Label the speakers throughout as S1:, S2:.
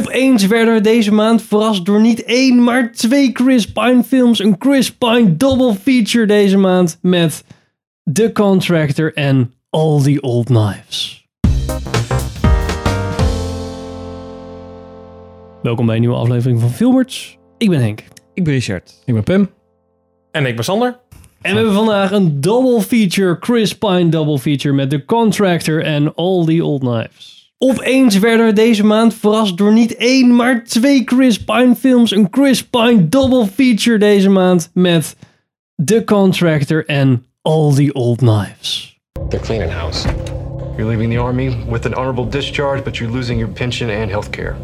S1: Opeens werden we deze maand verrast door niet één, maar twee Chris Pine films. Een Chris Pine double feature deze maand met The Contractor en All the Old Knives. Welkom bij een nieuwe aflevering van Filmerts. Ik ben Henk.
S2: Ik ben Richard.
S3: Ik ben Pim.
S4: En ik ben Sander.
S1: En we hebben vandaag een double feature, Chris Pine double feature met The Contractor en All the Old Knives. Opeens werden we deze maand verrast door niet één, maar twee Chris Pine films. Een Chris Pine double feature deze maand met The Contractor en All the Old Knives.
S5: They're cleaning house.
S6: You're leaving the Army with an honorable discharge, but you're losing your pension and health care.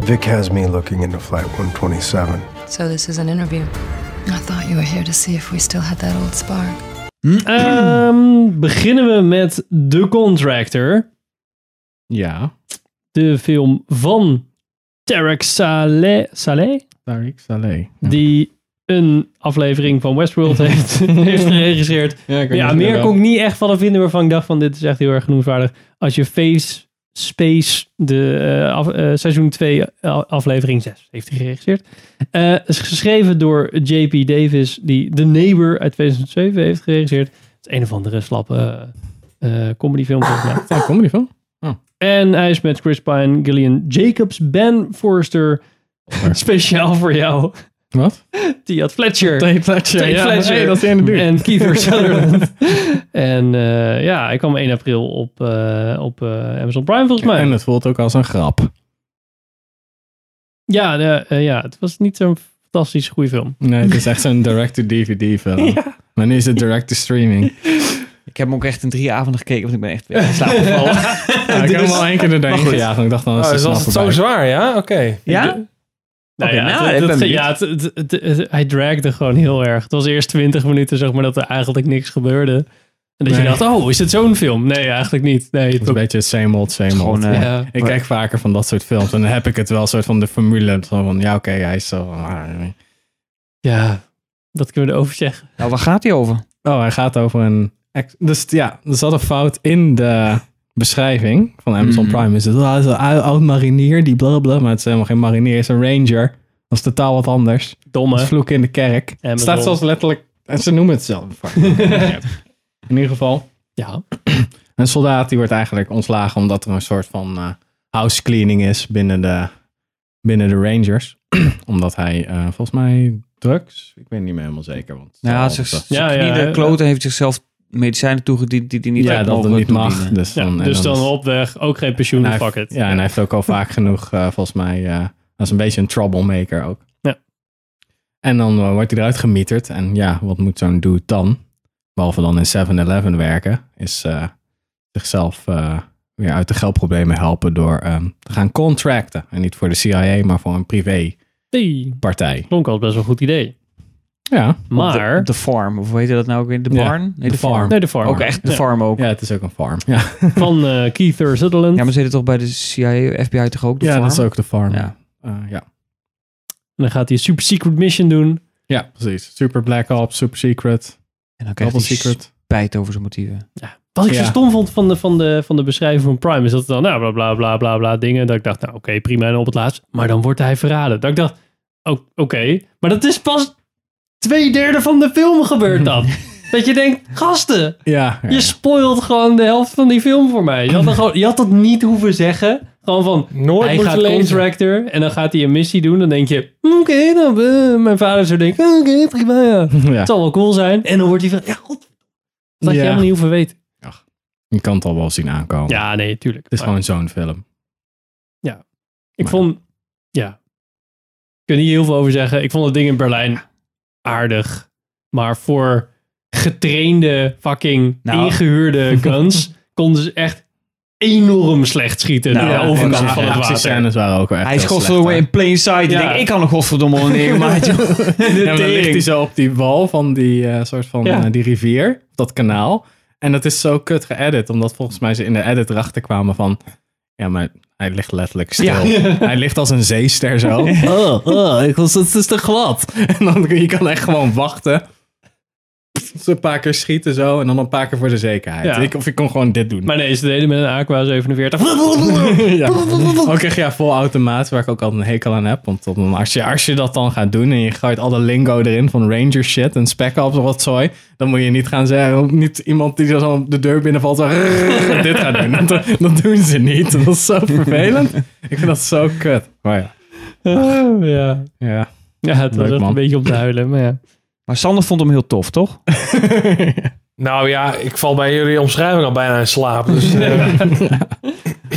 S7: Vic has me looking into Flight 127.
S8: So this is an interview. I thought you were here to see if we still had that old spark.
S1: Ehm, beginnen we met The Contractor,
S3: Ja.
S1: de film van Tarek Saleh. Saleh?
S3: Tariq Saleh.
S1: die een aflevering van Westworld heeft, heeft geregisseerd.
S3: Ja, ik weet
S1: Ja,
S3: niet of
S1: meer
S3: je
S1: kon ik niet echt van hem vinden waarvan ik dacht van dit is echt heel erg genoemswaardig. Als je Face Space, de eh, af- eh, seizoen 2, aflevering 6 heeft hij geregisseerd. Eh, is geschreven door JP Davis, die The Neighbor uit 2007 heeft geregisseerd. Het is een of andere slappe eh, comedyfilm volgens mij.
S3: wel- Ja, kom je van?
S1: En hij is met Chris Pine, Gillian Jacobs, Ben Forrester. Speciaal voor jou.
S3: Wat?
S1: Die had Fletcher.
S3: Tate Fletcher.
S1: Tate
S3: ja,
S1: Fletcher.
S3: hey, dat is in de buurt.
S1: En Kiefer Sutherland. en eh, ja, hij kwam 1 april op, eh, op eh, Amazon Prime volgens mij.
S3: En het voelt ook als een grap.
S1: ja, de- eh, ja, het was niet zo'n fantastisch goede film.
S3: Nee, het is echt zo'n direct-to-DVD film. Maar nu is het direct-to-streaming.
S2: Ik heb hem ook echt in drie avonden gekeken, want ik ben echt weer in
S1: Nou,
S2: slaap gevallen.
S3: Ja, ik heb hem al één keer er doorheen
S4: Maar goed.
S3: gejaagd. en Ik dacht, dan is het
S4: Oh, dus
S3: snel
S4: was het zo
S3: voorbij.
S4: zwaar, ja? Oké.
S2: ja?
S1: Nou
S2: Oké,
S1: ja,
S2: nou,
S1: het-
S2: ik ben
S1: het-
S2: benieuwd.
S1: ja, het- het- het- het- hij dragde gewoon heel erg. Het was eerst 20 minuten, zeg maar, dat er eigenlijk niks gebeurde. En dat je
S3: Nee.
S1: dacht, oh, is het zo'n film? Nee, eigenlijk niet. Nee, het
S3: Het is een beetje same old, same old.
S2: Gewoon, eh,
S1: ja.
S3: ik kijk vaker van dat soort films. En dan heb ik het wel soort van de formule. Zo van, ja, oké, hij is zo...
S1: ja, dat kunnen we erover zeggen.
S2: Nou, waar gaat hij over?
S3: Oh, hij gaat over een. ex- Dus ja, er zat een fout in de beschrijving van Amazon
S2: Mhm.
S3: Prime. Is het oh, hij is een ou- oud marinier die blablabla, maar het is helemaal geen marinier, het is een ranger. Dat is totaal wat anders. Het
S1: Domme.
S3: is vloek in de kerk. Het staat zelfs letterlijk, en ze noemen het zelf. Fuck, maakt niet uit. in ieder geval,
S1: Ja,
S3: een soldaat die wordt eigenlijk ontslagen omdat er een soort van eh house cleaning is binnen de, binnen de rangers. omdat hij eh, volgens mij drugs, ik weet niet meer helemaal zeker. Want
S2: Nou,
S3: Zo-
S2: zijn zijn
S1: Ja, ja,
S2: knieën
S1: ja.
S2: kloten heeft zichzelf medicijnen toegediend die hij niet
S3: ja,
S2: had
S3: dat
S2: mogen
S3: het niet mag.
S2: toedienen.
S3: Dus
S1: ja
S3: dan, en
S1: dus
S3: dan
S1: dan
S3: is-
S1: op weg, ook geen pensioen,
S3: En hij
S1: fuck it.
S3: heeft- Ja, en hij heeft ook al vaak genoeg, eh, volgens mij, eh, dat is een beetje een troublemaker ook.
S1: Ja.
S3: En dan eh, wordt hij eruit gemieterd. En ja, wat moet zo'n dude dan? Behalve dan in 7-Eleven werken, is eh, zichzelf eh, weer uit de geldproblemen helpen door ehm, te gaan contracten. En niet voor de CIA, maar voor een privépartij.
S1: Hey, klonk als best wel een goed idee.
S3: Ja,
S2: Op de-
S1: Maar...
S2: op de, farm, of hoe heet dat nou ook weer? De
S3: Ja,
S2: barn? nee,
S3: de
S2: de farm.
S3: farm.
S1: Nee, de farm.
S2: Ook echt de
S1: Ja.
S2: farm ook.
S3: ja, het is ook een farm. Ja,
S1: Van eh Keith Sutherland.
S2: Ja, maar zitten toch bij de CIA, FBI toch ook de
S3: ja
S2: farm?
S3: dat is ook de farm.
S2: Ja.
S3: Ja, ja.
S1: En dan gaat hij een super secret mission doen.
S3: ja precies. Super Black Ops, Super Secret,
S2: En dan krijgt
S3: Double
S2: hij
S3: Secret.
S2: spijt over zijn motieven.
S1: Wat ik
S3: Ja.
S1: zo stom vond van de, van, de, van de beschrijving van Prime is dat het dan nou, bla bla bla bla bla dingen. Dat ik dacht, nou oké, prima. En op het laatst. Maar dan wordt hij verraden. Dat ik dacht, o- oké. Maar dat is pas twee derde van de film gebeurt dan. dat je denkt, gasten,
S3: Ja, ja,
S1: je spoilt gewoon de helft van die film voor mij. Je had, dan gewoon, je had dat niet hoeven zeggen. Gewoon van,
S4: Nooit
S1: hij
S4: moeten
S1: gaat
S4: lezen.
S1: contractor en dan gaat hij een missie doen. Dan denk je, oké, dan, eh, mijn vader zou denken, oké, prima, ja.
S3: ja.
S1: Het zal wel cool zijn. En dan wordt hij van, ja, god. Dat had je
S3: Ja.
S1: helemaal niet hoeven weten.
S3: Je kan het al wel zien aankomen.
S1: Ja, nee, tuurlijk.
S3: Het is
S1: Maar
S3: gewoon zo'n film.
S1: ik vond, ja. Ik kan hier heel veel over zeggen. Ik vond het ding in Berlijn aardig. Maar voor getrainde, fucking
S2: Nou.
S1: ingehuurde guns konden ze echt enorm slecht schieten.
S2: Nou,
S1: naar de
S2: ja,
S1: overkant
S2: ja,
S1: van
S2: ja,
S1: het water.
S3: actiescènes waren ook wel echt
S2: Hij is
S3: heel slecht,
S2: godverdomme
S3: hè?
S2: in plain sight.
S1: Ja.
S2: Ik denk, ik kan een godverdomme wel een neermaat, joh.
S3: Ja, maar dan
S2: tering.
S3: ligt hij zo op die wal van die eh, soort van
S1: Ja.
S3: eh, die rivier, dat kanaal. En dat is zo kut geëdit, omdat volgens mij ze in de edit erachter kwamen van, ja, maar hij ligt letterlijk stil. Hij ligt als een zeester zo. Oh, oh, ik was, het is te glad. En dan je kan echt gewoon wachten. Ze een paar keer schieten zo en dan een paar keer voor de zekerheid.
S1: Ja.
S3: Ik, of ik kon gewoon dit doen.
S1: Maar nee, ze deden met een Aqua 47.
S3: ja. Ook echt ja, vol automaat, waar ik ook altijd een hekel aan heb. Want dan, als, je, als je dat dan gaat doen en je gooit al de lingo erin van ranger shit en spec ops of wat zooi, dan moet je niet gaan zeggen, niet iemand die dan zo de deur binnenvalt zo, dit gaat doen. Dat, dat doen ze niet. Dat is zo vervelend. Ik vind dat zo kut. Maar ja,
S1: Oh, ja.
S3: ja.
S1: ja, het was
S3: Leuk,
S1: echt
S3: man.
S1: een beetje om te huilen. Maar ja.
S2: Maar Sander vond hem heel tof, toch?
S4: Nou ja, ik val bij jullie omschrijving al bijna in slaap. Dus, eh,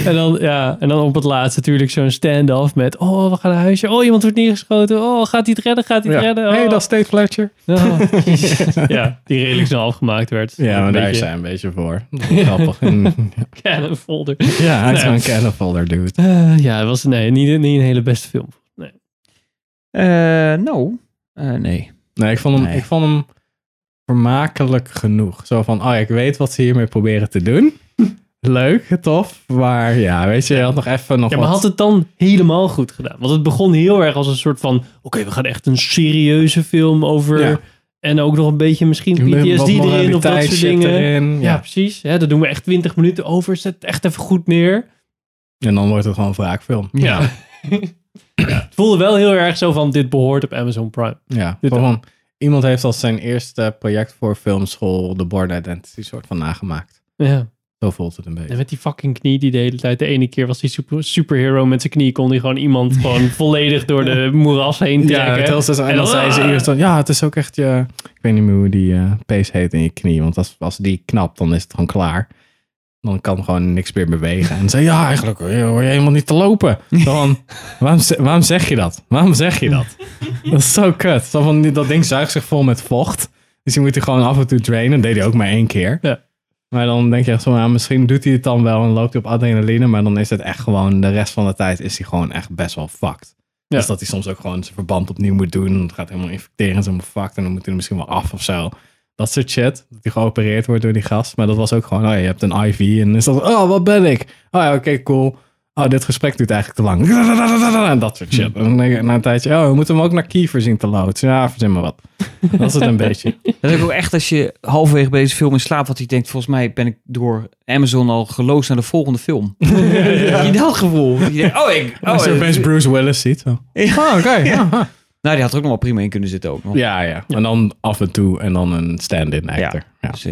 S1: En, dan, ja, en dan op het laatst natuurlijk zo'n stand-off met... Oh, we gaan naar huisje. Oh, iemand wordt neergeschoten. Oh, gaat hij het redden? Gaat hij
S3: ja.
S1: het redden? Oh.
S3: hey, dat is Tate Fletcher.
S1: Oh, ja, die redelijk snel afgemaakt werd.
S3: Ja, maar
S1: Een
S3: daar is
S1: beetje
S3: hij een beetje voor. Dat is grappig.
S1: cannon folder.
S3: ja, hij is
S1: Nee.
S3: zo'n cannonballer dude.
S1: Eh, ja, het was nee, niet, niet een hele beste film. Nee.
S2: Eh, nou, eh, nee.
S3: Nee, ik vond hem,
S2: Nee.
S3: ik vond hem vermakelijk genoeg. Zo van, oh ja, ik weet wat ze hiermee proberen te doen. Leuk, tof. Maar ja, weet je, je had nog even nog
S1: Ja, maar
S3: wat...
S1: had het dan helemaal goed gedaan? Want het begon heel erg als een soort van... Oké, we gaan echt een serieuze film over...
S3: Ja.
S1: En ook nog een beetje misschien
S3: Met wat
S1: PTSD erin of dat
S3: moraliteit
S1: soort
S3: shit
S1: dingen.
S3: erin.
S1: Ja,
S3: Ja.
S1: precies. Hè, dat doen we echt 20 minuten over. Zet het echt even goed neer.
S3: En dan wordt het gewoon een wraakfilm.
S1: Ja. het voelde wel heel erg zo van... Dit behoort op Amazon Prime.
S3: Ja,
S1: Dit
S3: zo van, iemand heeft als zijn eerste project voor filmschool de Born Identity soort van nagemaakt.
S1: Ja.
S3: Zo voelt het een beetje.
S1: En met die fucking knie die de hele tijd... De ene keer was die super, superhero met zijn knie... kon hij gewoon iemand gewoon volledig door de moeras heen
S3: Ja,
S1: trekken.
S3: vertel ze zo. En dan zei
S1: ah.
S3: ze eerst van, ja, het is ook echt je... Ik weet niet meer hoe die eh pees heet in je knie. Want als, als die knapt, dan is het gewoon klaar. Dan kan gewoon niks meer bewegen. En zei, ja, eigenlijk hoor je hoor je helemaal niet te lopen. Zo van, waarom, ze- waarom zeg je dat? Waarom zeg je dat? Dat is zo kut. Zo van, die- dat ding zuigt zich vol met vocht. Dus je moet er gewoon af en toe trainen. Dat deed hij ook maar één keer.
S1: Ja.
S3: Maar dan denk je echt zo, nou, misschien doet hij het dan wel en loopt hij op adrenaline. Maar dan is het echt gewoon, de rest van de tijd is hij gewoon echt best wel fucked.
S1: Ja.
S3: Dus dat hij soms ook gewoon zijn verband opnieuw moet doen. Het gaat helemaal infecteren, het is helemaal fucked. En dan moet hij er misschien wel af of zo. Dat soort shit. Dat hij geopereerd wordt door die gast. Maar dat was ook gewoon, oh ja, je hebt een IV. En is dat, oh, wat ben ik? Oh ja, oké, cool. Oh, dit gesprek duurt eigenlijk te lang. Dat soort shit. En dan denk je na een tijdje, oh, we moeten hem ook naar Kiefer zien te loodsen. Ja, verzin maar wat. Dat is het een beetje.
S2: Dat is ook echt als je halverwege bij deze film in slaapt, wat hij denkt, volgens mij ben ik door Amazon al geloosd naar de volgende film. Heb je dat gevoel? Dat je denkt, oh, ik... Oh,
S3: Als je
S2: eh,
S3: opeens Bruce Willis ziet. zo.
S2: ja.
S3: Oh, oké. ja.
S2: Nou, die had er ook nog wel prima in kunnen zitten ook nog.
S3: Ja, ja. En dan af en toe en dan een stand-in actor. Ja.
S2: Precies.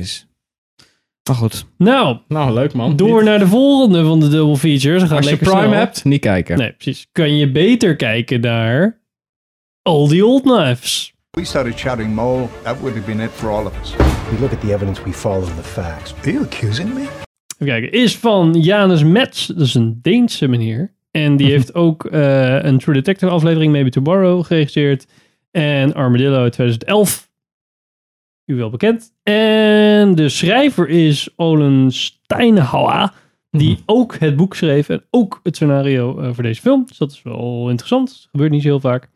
S2: Dus Maar goed.
S1: Nou,
S3: Nou, leuk man.
S1: Door
S3: Niet-
S1: naar de volgende van de double features. We gaan
S3: Als je
S1: lekker
S3: Prime
S1: snel.
S3: hebt, niet kijken.
S1: Nee, precies. Kan je beter kijken naar All the Old Knives.
S5: We started shouting Mole, that would have been it for all of us.
S7: We look at the evidence, we follow the facts.
S5: Are you accusing me?
S1: Even kijken. Is van Janus Metz. Dat is een Deense meneer. En die heeft ook eh, een True Detective aflevering, Maybe Tomorrow, geregisseerd. En Armadillo uit 2011. U wel bekend. En de schrijver is Olen Steinhauer. Die
S3: Mhm.
S1: ook het boek schreef en ook het scenario eh, voor deze film. Dus dat is wel interessant. Dat gebeurt niet zo heel vaak.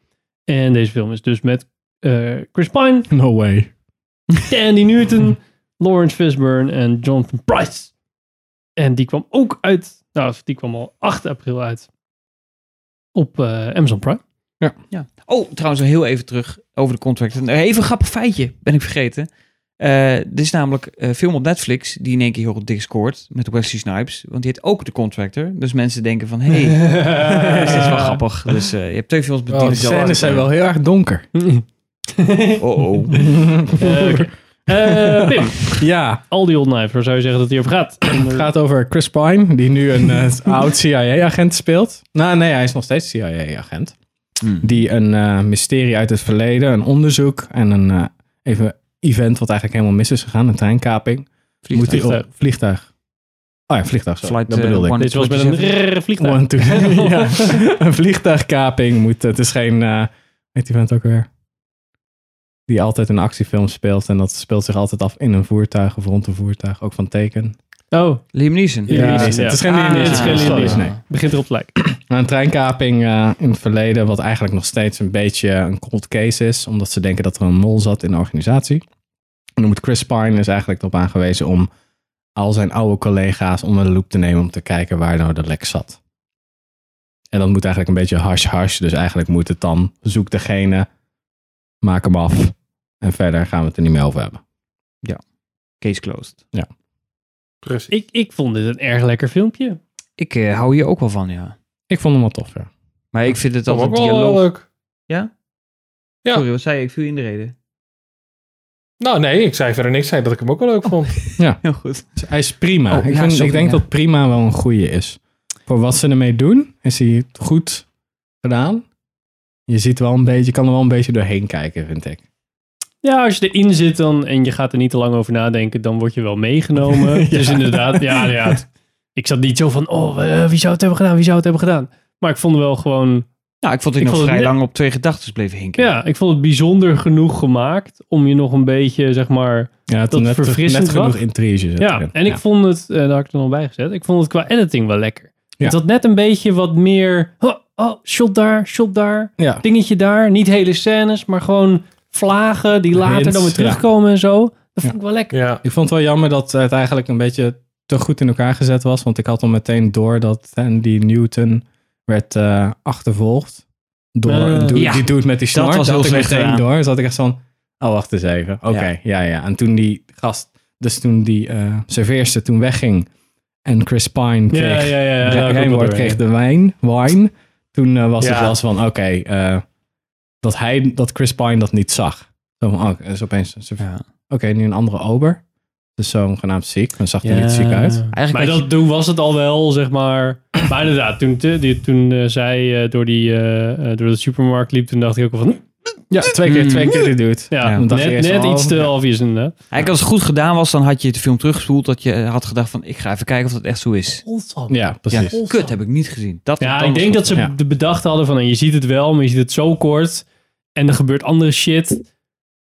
S1: En deze film is dus met eh, Chris Pine,
S3: No way.
S1: Andy Newton, Lawrence Fishburne en Jonathan Price. En die kwam ook uit, nou, die kwam al 8 april uit op eh, Amazon Prime.
S2: Ja. Oh, trouwens, nog heel even terug over de contract. Een- Even een grappig feitje, ben ik vergeten. Eh, er is namelijk een film op Netflix die in één keer heel dik scoort met Wesley Snipes. Want die heet ook de contractor. Dus mensen denken van, hé, hey, dit is wel grappig. Dus eh, je hebt twee films met
S3: Oh, de
S2: Dieter Jan.
S3: scènes zijn wel heel erg donker.
S2: Oh, oh.
S1: Eh, oké. Eh, Pim,
S3: Ja,
S1: All the Old Knives, waar zou je zeggen dat hij over gaat? En,
S3: het
S1: eh,
S3: gaat over Chris Pine, die nu een eh, oud CIA-agent speelt. Nou nee, hij is nog steeds CIA-agent.
S2: Hmm.
S3: Die een eh, mysterie uit het verleden, een onderzoek en een eh, even event wat eigenlijk helemaal mis is gegaan, een treinkaping. Moet hij
S1: Vliegtuig.
S3: op vliegtuig. Oh ja, vliegtuig. sorry.
S2: Flight,
S3: dat
S2: eh,
S3: bedoelde ik.
S1: Dit was met een rrrr vliegtuig.
S3: One, two. ja. Een vliegtuigkaping moet. Het is geen. eh weet die vent ook weer? Die altijd een actiefilm speelt. En dat speelt zich altijd af in een voertuig of rond een voertuig. Ook van teken.
S1: Oh,
S2: Liam Neeson.
S1: Ja.
S3: Nee,
S1: ja.
S3: Het is geen
S2: Ah,
S3: Liam Neeson.
S2: het is geen
S3: Sorry,
S1: Liam Neeson.
S3: nee.
S1: begint erop te lijken.
S3: Maar Nou, Een treinkaping eh, in het verleden, wat eigenlijk nog steeds een beetje een cold case is, omdat ze denken dat er een mol zat in de organisatie. En dan moet Chris Pine is eigenlijk op aangewezen om al zijn oude collega's onder de loep te nemen om te kijken waar nou de lek zat. En dat moet eigenlijk een beetje hash-hash, dus eigenlijk moet het dan zoek degene, maak hem af en verder gaan we het er niet meer over hebben.
S2: Case closed.
S4: Precies.
S1: Ik, ik vond dit een erg lekker filmpje.
S2: Ik eh, hou hier ook wel van, ja.
S3: Ik vond hem wel tof, ja.
S2: Maar ik vind het
S4: vond
S2: altijd
S4: ook wel eh,
S1: eh,
S2: dialoog.
S4: leuk. Ja.
S2: Sorry, wat zei je? Ik viel je in de reden.
S4: Nou nee, ik zei verder niks. zei dat ik hem ook wel leuk vond.
S2: Heel goed.
S3: Dus hij is prima.
S2: Oh,
S3: ik,
S2: ja,
S3: vind,
S2: sorry,
S3: ik denk
S2: ja.
S3: dat prima wel een goede is. Voor wat ze ermee doen, is hij goed gedaan. Je ziet wel een beetje, je kan er wel een beetje doorheen kijken, vind ik.
S1: Ja, als je erin zit dan, en je gaat er niet te lang over nadenken, dan word je wel meegenomen. Dus inderdaad, ja, ja. het- Ik zat niet zo van, oh, eh, wie zou het hebben gedaan, wie zou het hebben gedaan. Maar ik vond het wel gewoon,
S2: Nou, ik vond
S1: Ik
S2: ik nog
S1: vond het
S2: vrij
S1: net-
S2: lang op twee gedachten bleef hinken.
S1: ja, ik vond het bijzonder genoeg gemaakt om je nog een beetje, zeg maar...
S3: Ja, het
S1: Dat
S3: net,
S1: verfrissend
S3: net genoeg
S1: was.
S3: intrige zit
S1: Ja,
S3: erin.
S1: en ik vond het, eh, daar had ik het nog bij gezet, ik vond het qua editing wel lekker.
S3: Ja.
S1: Het had net een beetje wat meer, oh, oh, shot daar, shot daar,
S3: ja.
S1: dingetje daar. Niet hele scènes, maar gewoon vlagen die later dan weer
S3: Hints, ja.
S1: terugkomen en zo. Dat
S3: Ja.
S1: vond ik wel lekker.
S4: Ja.
S3: Ik vond het wel jammer dat het eigenlijk een beetje te goed in elkaar gezet was. Want ik had al meteen door dat hè, die Newton werd eh, achtervolgd. Door
S1: Eh,
S3: een dude-
S2: ja.
S3: die dude met die snor.
S2: was heel
S3: had ik
S2: slecht
S3: meteen
S2: gedaan.
S3: door. Dus had ik echt van, oh wacht eens even. Oké,
S2: Ja.
S3: ja. ja, En toen die gast, dus toen die eh serveerster toen wegging. En Chris Pine kreeg,
S1: Ja, ja, ja. ja,
S3: Re-
S1: daar komt
S3: Rijnwoord
S1: het door,
S3: kreeg
S1: ja.
S3: de wijn. wine. Toen eh, was
S4: Ja.
S3: het wel eens van, oké, eh, dat hij, dat Chris Pine dat niet zag. Zo van, oh, is opeens, een serv-
S2: Ja.
S3: oké, nu een andere ober. Dus zogenaamd ziek. Dan zag hij niet ziek uit.
S1: Maar
S2: Eigenlijk
S1: dat, toen was het al wel, zeg maar. Maar inderdaad, toen, te- die, toen eh, zij eh, door, die, eh, eh, door de supermarkt liep, toen dacht ik ook al van... "Hm,
S3: Ja, twee keer,
S2: Mm.
S3: twee keer dit doet.
S1: Ja,
S2: Ja,
S3: dan dacht je
S1: net,
S3: eerst
S1: net
S3: al,
S1: iets te
S3: ja.
S1: obvious inderdaad.
S2: Eigenlijk als het goed gedaan was, dan had je de film teruggespoeld. Dat je eh, had gedacht van, ik ga even kijken of dat echt zo is.
S3: Ja, precies.
S2: Ja, kut, heb ik niet gezien. Dat
S1: Ja,
S2: dat
S1: ik
S2: was
S1: denk dat
S2: goed.
S1: ze
S3: ja.
S1: de bedacht hadden van... eh, je ziet het wel, maar je ziet het zo kort. En er gebeurt andere shit.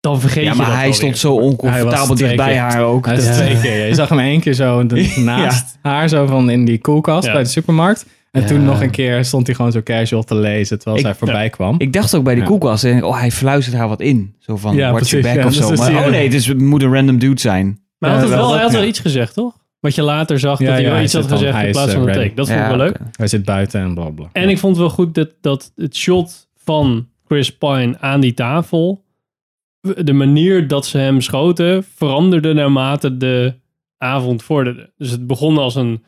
S1: Dan vergeet
S2: Ja,
S1: je dat
S2: maar hij
S1: wel
S2: stond
S1: weer.
S2: zo oncomfortabel
S3: was twee
S2: dichtbij
S3: keer-
S2: haar ook.
S3: Hij is
S2: Dat-
S3: twee keer. Je zag hem één keer zo en dan naast haar, zo van in die koelkast
S1: Ja.
S3: bij de supermarkt. En
S2: Ja.
S3: toen nog een keer stond hij gewoon zo casual te lezen terwijl
S2: Ik-
S3: zij voorbij kwam.
S2: Ik dacht ook bij die
S3: Ja.
S2: koelkast, en oh, hij fluistert haar wat in. Zo van,
S3: Ja,
S2: watch
S3: precies,
S2: your back
S3: ja.
S2: of
S3: Dus
S2: zo.
S3: dat
S2: Maar,
S3: zie je-
S2: oh nee, het, is, het moet een random dude zijn.
S1: Maar hij had,
S3: Ja,
S1: het
S3: wel
S1: wel,
S3: dat,
S1: hij had wel
S3: ja.
S1: iets gezegd, toch? Wat je later zag,
S3: Ja,
S1: dat hij
S3: ja,
S1: wel
S3: hij
S1: iets had
S3: zegt dan,
S1: gezegd
S3: hij
S1: in
S3: is,
S1: plaats
S3: eh,
S1: van een
S3: ready.
S1: take. Dat vond ik
S2: Ja,
S1: wel leuk.
S2: oké.
S3: Hij zit buiten en blablabla.
S1: En ik vond het wel goed dat, dat het shot van Chris Pine aan die tafel, de manier dat ze hem schoten, veranderde naarmate de avond vorderde. Dus het begon als een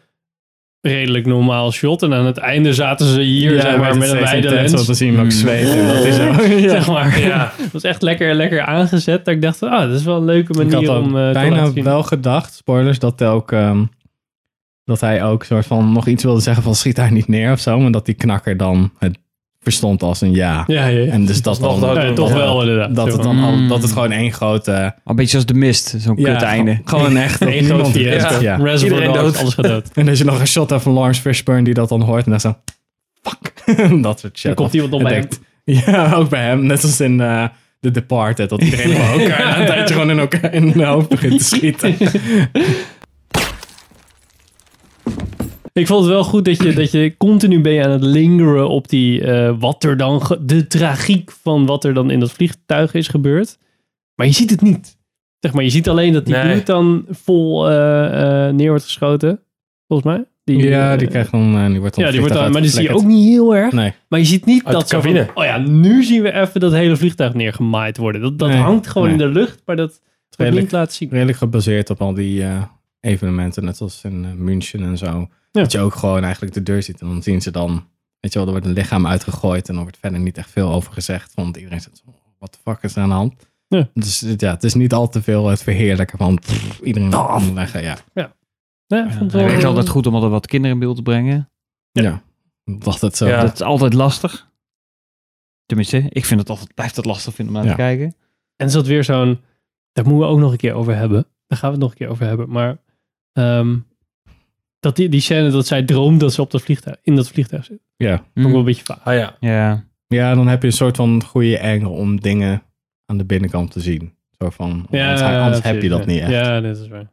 S1: redelijk normaal shot en aan het einde zaten ze hier zeg maar, met een wijde
S3: Zo te
S1: lens.
S3: zien hem ook
S2: Mm.
S3: zweten. en Dat is ook.
S1: Zeg maar.
S4: Ja.
S1: Het was echt lekker, lekker aangezet. Dat ik dacht, van, ah, dat is wel een leuke
S3: Ik had
S1: manier
S3: ook
S1: om eh, te laten
S3: bijna
S1: zien.
S3: wel gedacht, spoilers, dat, hij ook, ehm, dat hij ook soort van nog iets wilde zeggen van schiet hij niet neer of zo. Maar dat die knakker dan het verstond als een ja.
S1: Ja, ja, ja.
S3: En dus dat,
S4: nog
S3: dan,
S4: dat-
S1: Ja, toch
S4: Ja.
S1: wel inderdaad.
S3: dat, het dan
S2: Mm.
S3: al, dat het gewoon één grote...
S2: Een beetje als de mist, zo'n kut einde.
S3: Gewoon echt
S1: Eén groot
S3: niemand-
S1: fiasco.
S3: Ja.
S1: Reservoir
S4: Iedereen
S1: Dogs,
S4: dood.
S1: alles gaat dood.
S3: En als je nog een shot hebt van Lawrence Fishburne die dat dan hoort en dan zo... Fuck. dat soort shit.
S1: Dan komt iemand op
S3: En
S1: bij
S3: denkt- Ja, ook bij hem. Net als in eh The Departed. Dat iedereen op elkaar na een tijdje gewoon in elkaar in de hoofd begint te schieten.
S1: Ik vond het wel goed dat je, dat je continu ben je aan het lingeren op die, eh, wat er dan, ge- de tragiek van wat er dan in dat vliegtuig is gebeurd. Maar je ziet het niet. Zeg maar, je ziet alleen dat die
S4: Nee.
S1: dude dan vol eh, eh, neer wordt geschoten, volgens mij.
S3: Ja, die
S1: eh,
S3: krijgt dan... eh, die wordt dan
S1: Ja, die wordt dan,
S3: vliegtuig
S1: maar die zie je ook
S3: uitgeflikkerd.
S1: niet heel erg.
S3: Nee.
S1: Maar je ziet niet
S4: Uit
S1: dat
S4: de
S1: zo van,
S4: cabine.
S1: oh ja, nu zien we even dat hele vliegtuig neergemaaid worden. Dat, dat
S3: Nee,
S1: hangt gewoon
S3: nee.
S1: in de lucht, maar dat wordt
S3: Redelijk-
S1: niet laten zien.
S3: redelijk gebaseerd op al die eh, evenementen, net als in eh, München en zo. Dat je ook gewoon eigenlijk de deur ziet en dan zien ze dan, weet je wel, er wordt een lichaam uitgegooid en dan wordt verder niet echt veel over gezegd, want iedereen zegt, wat de fuck is er aan de hand?
S1: Ja.
S3: Dus eh, ja, het is niet al te veel het verheerlijken van pff, iedereen moet leggen, ja.
S1: Nee, ik vond het
S2: Het
S1: wel-
S2: is altijd goed om altijd wat kinderen in beeld te brengen.
S3: Ja. Ik dacht het zo.
S4: Ja.
S2: Dat is altijd lastig. Tenminste, ik vind het altijd, blijf dat lastig vinden om naar
S3: Ja.
S2: te kijken.
S1: En is dat weer zo'n. Daar moeten we ook nog een keer over hebben. Daar gaan we het nog een keer over hebben. Maar. ehm, dat die, die scène dat zij droomt dat ze op dat vliegtuig, in dat vliegtuig zit.
S3: Ja.
S1: Vond ik wel een beetje vaag.
S4: Ah ja.
S2: Hm. Ja.
S3: ja, dan heb je een soort van goede engel om dingen aan de binnenkant te zien. Zo van,
S1: Ja,
S3: anders, anders heb je
S1: precies,
S3: dat
S1: ja.
S3: niet echt.
S1: Ja, dat is waar.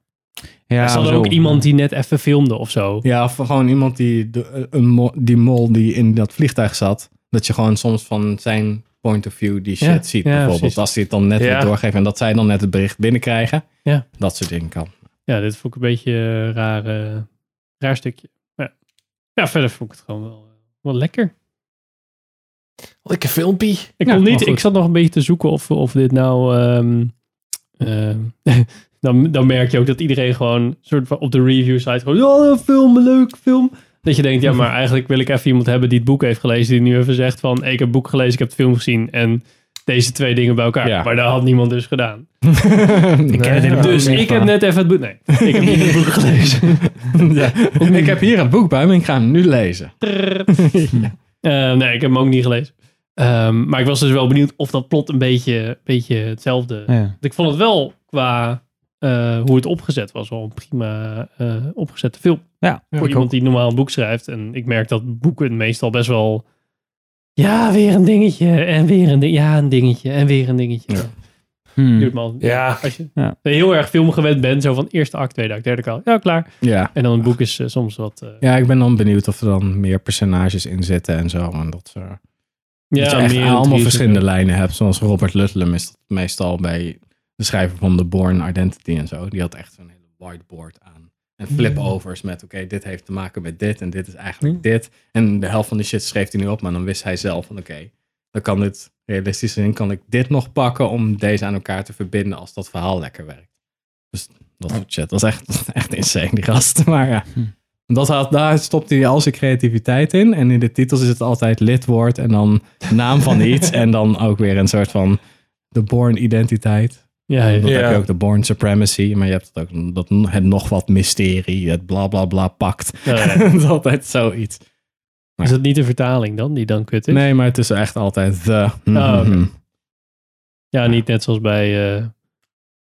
S2: ja
S1: er zat
S2: zo.
S1: ook iemand die net even filmde of zo.
S3: Ja, of gewoon iemand die, de, een mo- die mol die in dat vliegtuig zat. Dat je gewoon soms van zijn point of view die shit
S1: Ja,
S3: ziet.
S1: ja,
S3: bijvoorbeeld
S1: precies.
S3: als hij het dan net
S4: Ja.
S3: weer doorgeeft en dat zij dan net het bericht binnenkrijgen.
S1: Ja.
S3: Dat soort dingen kan.
S1: Ja, dit vond ik een beetje een raar, eh, raar stukje. Maar ja. ja, verder vond ik het gewoon wel, wel lekker.
S4: Lekker filmpje.
S1: Ik,
S3: Ja,
S1: kon
S3: maar
S1: niet,
S3: goed.
S1: ik zat nog een beetje te zoeken of, of dit nou. ehm, ehm, Dan, dan merk je ook dat iedereen gewoon soort van op de review site gewoon, ja, een film, een leuk film. Dat je denkt, ja, maar eigenlijk wil ik even iemand hebben die het boek heeft gelezen. Die nu even zegt van, hey, ik heb het boek gelezen, ik heb de film gezien. En deze twee dingen bij elkaar.
S3: Ja.
S1: Maar dat had niemand dus gedaan.
S3: Ik ken het helemaal
S1: Dus
S3: niet
S1: ik
S3: van.
S1: heb net even het boek... Nee, ik heb niet het boek gelezen.
S3: ik heb hier een boek bij me en ik ga hem nu lezen.
S1: Eh, nee, ik heb hem ook niet gelezen. Ehm, maar ik was dus wel benieuwd of dat plot een beetje, beetje hetzelfde...
S2: Ja.
S1: Want ik vond het wel qua eh, hoe het opgezet was wel een prima eh, opgezette film.
S2: Ja,
S1: voor
S2: ik ook.
S1: iemand die normaal een boek schrijft. En ik merk dat boeken meestal best wel... Ja, weer een dingetje. En weer een dingetje. Ja, een dingetje. En weer een dingetje.
S3: Ja.
S2: Hmm.
S1: Duurt me al-
S4: Ja.
S1: Als je
S2: Ja.
S1: heel erg film gewend bent, zo van eerste act, tweede act, derde act. Ja, klaar.
S3: Ja.
S1: En dan een boek is eh, soms wat... eh,
S3: Ja, ik ben dan benieuwd of er dan meer personages in zitten en zo. En dat, eh, dat je echt
S1: meer
S3: allemaal
S1: intriges.
S3: verschillende lijnen hebt. Zoals Robert Ludlum is dat meestal bij de schrijver van The Born Identity en zo. Die had echt zo'n hele whiteboard aan. En flipovers met, oké, dit heeft te maken met dit en dit is eigenlijk dit. En de helft van de shit schreef hij nu op, maar dan wist hij zelf van, oké, dan kan dit realistisch zijn. Kan ik dit nog pakken om deze aan elkaar te verbinden als dat verhaal lekker werkt. Dus dat
S1: Oh.
S3: soort shit. Dat is echt, echt insane, die gast. Maar ja.
S1: Hm.
S3: Dat had, daar stopt hij al zijn creativiteit in. En in de titels is het altijd lidwoord en dan naam van iets. en dan ook weer een soort van de born identiteit.
S1: Ja,
S3: Dan
S1: ja.
S4: Ja.
S3: heb je ook de born supremacy. Maar je hebt het ook dat, het nog wat mysterie, het bla bla bla pakt.
S1: Ja, ja.
S3: dat is altijd zoiets.
S1: Is dat niet de vertaling dan, die dan kut is?
S3: Nee, maar het is echt altijd de...
S1: Oh, oké.
S3: Mhm.
S1: Ja, niet net zoals bij eh,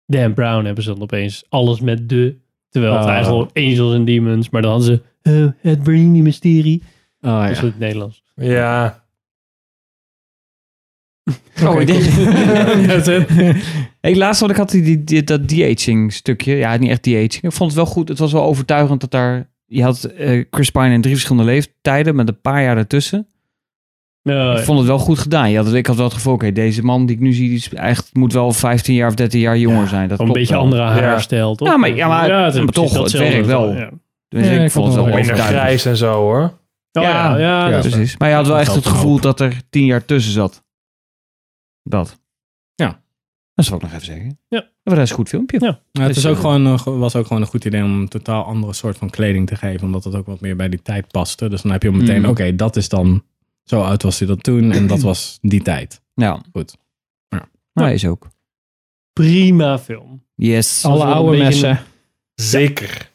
S1: Dan Brown hebben ze dan opeens alles met de. Terwijl het
S3: Ah.
S1: eigenlijk al Angels and Demons, maar dan hadden ze eh, het Bernini mysterie.
S3: Oh,
S1: Dat is
S3: ja.
S1: het Nederlands.
S4: Ja.
S2: Oh, ik
S3: Ja,
S2: denk...
S3: dat is het.
S2: Ik laatst wat ik had die, die, die- dat de-aging stukje. Ja, niet echt de-aging. Ik vond het wel goed. Het was wel overtuigend dat daar... Je had eh, Chris Pine in drie verschillende leeftijden met een paar jaar daartussen.
S1: Nou,
S2: Ik vond het wel goed gedaan. Je had, het- ik had wel het gevoel, oké, deze man die ik nu zie, die is echt, moet wel 15 jaar of 13 jaar jonger zijn. Dat
S1: een
S2: klopt
S1: beetje
S2: wel.
S1: andere
S4: Ja.
S1: haarstijl, toch?
S2: Ja, maar- ja, maar-
S1: het is
S2: maar
S1: precies
S2: toch, het
S1: datzelfde.
S2: werkt wel.
S1: Ja,
S2: Dus
S3: Ja, ik
S2: ik vond
S3: vond
S2: het wel
S3: het wel
S4: Minder
S2: overtuigend.
S4: grijs en zo hoor.
S1: Oh, ja, ja,
S2: Ja.
S3: Ja.
S1: dat is-
S2: Precies. Maar je had wel
S3: Dat
S2: echt het
S3: helpt
S2: gevoel
S3: ook.
S2: dat er 10 jaar tussen zat. Dat.
S3: Ja.
S2: Dat zou ik nog even zeggen.
S1: Ja.
S2: En voor de rest een goed filmpje.
S1: Ja.
S3: Ja, het
S2: Dus,
S3: is ook
S2: eh,
S3: gewoon, een go- was ook gewoon een goed idee om een totaal andere soort van kleding te geven. Omdat het ook wat meer bij die tijd paste. Dus dan heb je al meteen,
S2: Mm.
S3: oké, dat is dan... Zo oud was hij dat toen en dat was die tijd.
S2: Ja.
S3: Goed. Ja.
S2: Nou, is ook.
S1: prima film.
S2: Yes.
S1: Alle oude messen.
S4: Zeker.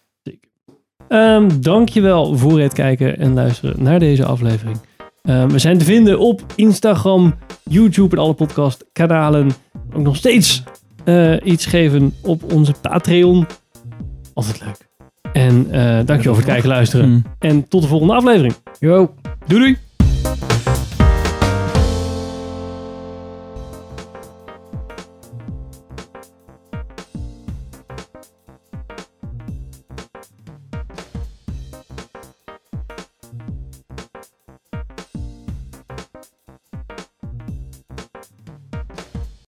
S1: Ehm dankjewel voor het kijken en luisteren naar deze aflevering. Ehm, we zijn te vinden op Instagram, YouTube en alle podcastkanalen. Ook nog steeds eh, iets geven op onze Patreon. Altijd leuk. En eh dankjewel voor het kijken en luisteren.
S2: Hm.
S1: En tot de volgende aflevering.
S2: Yo. Doei doei.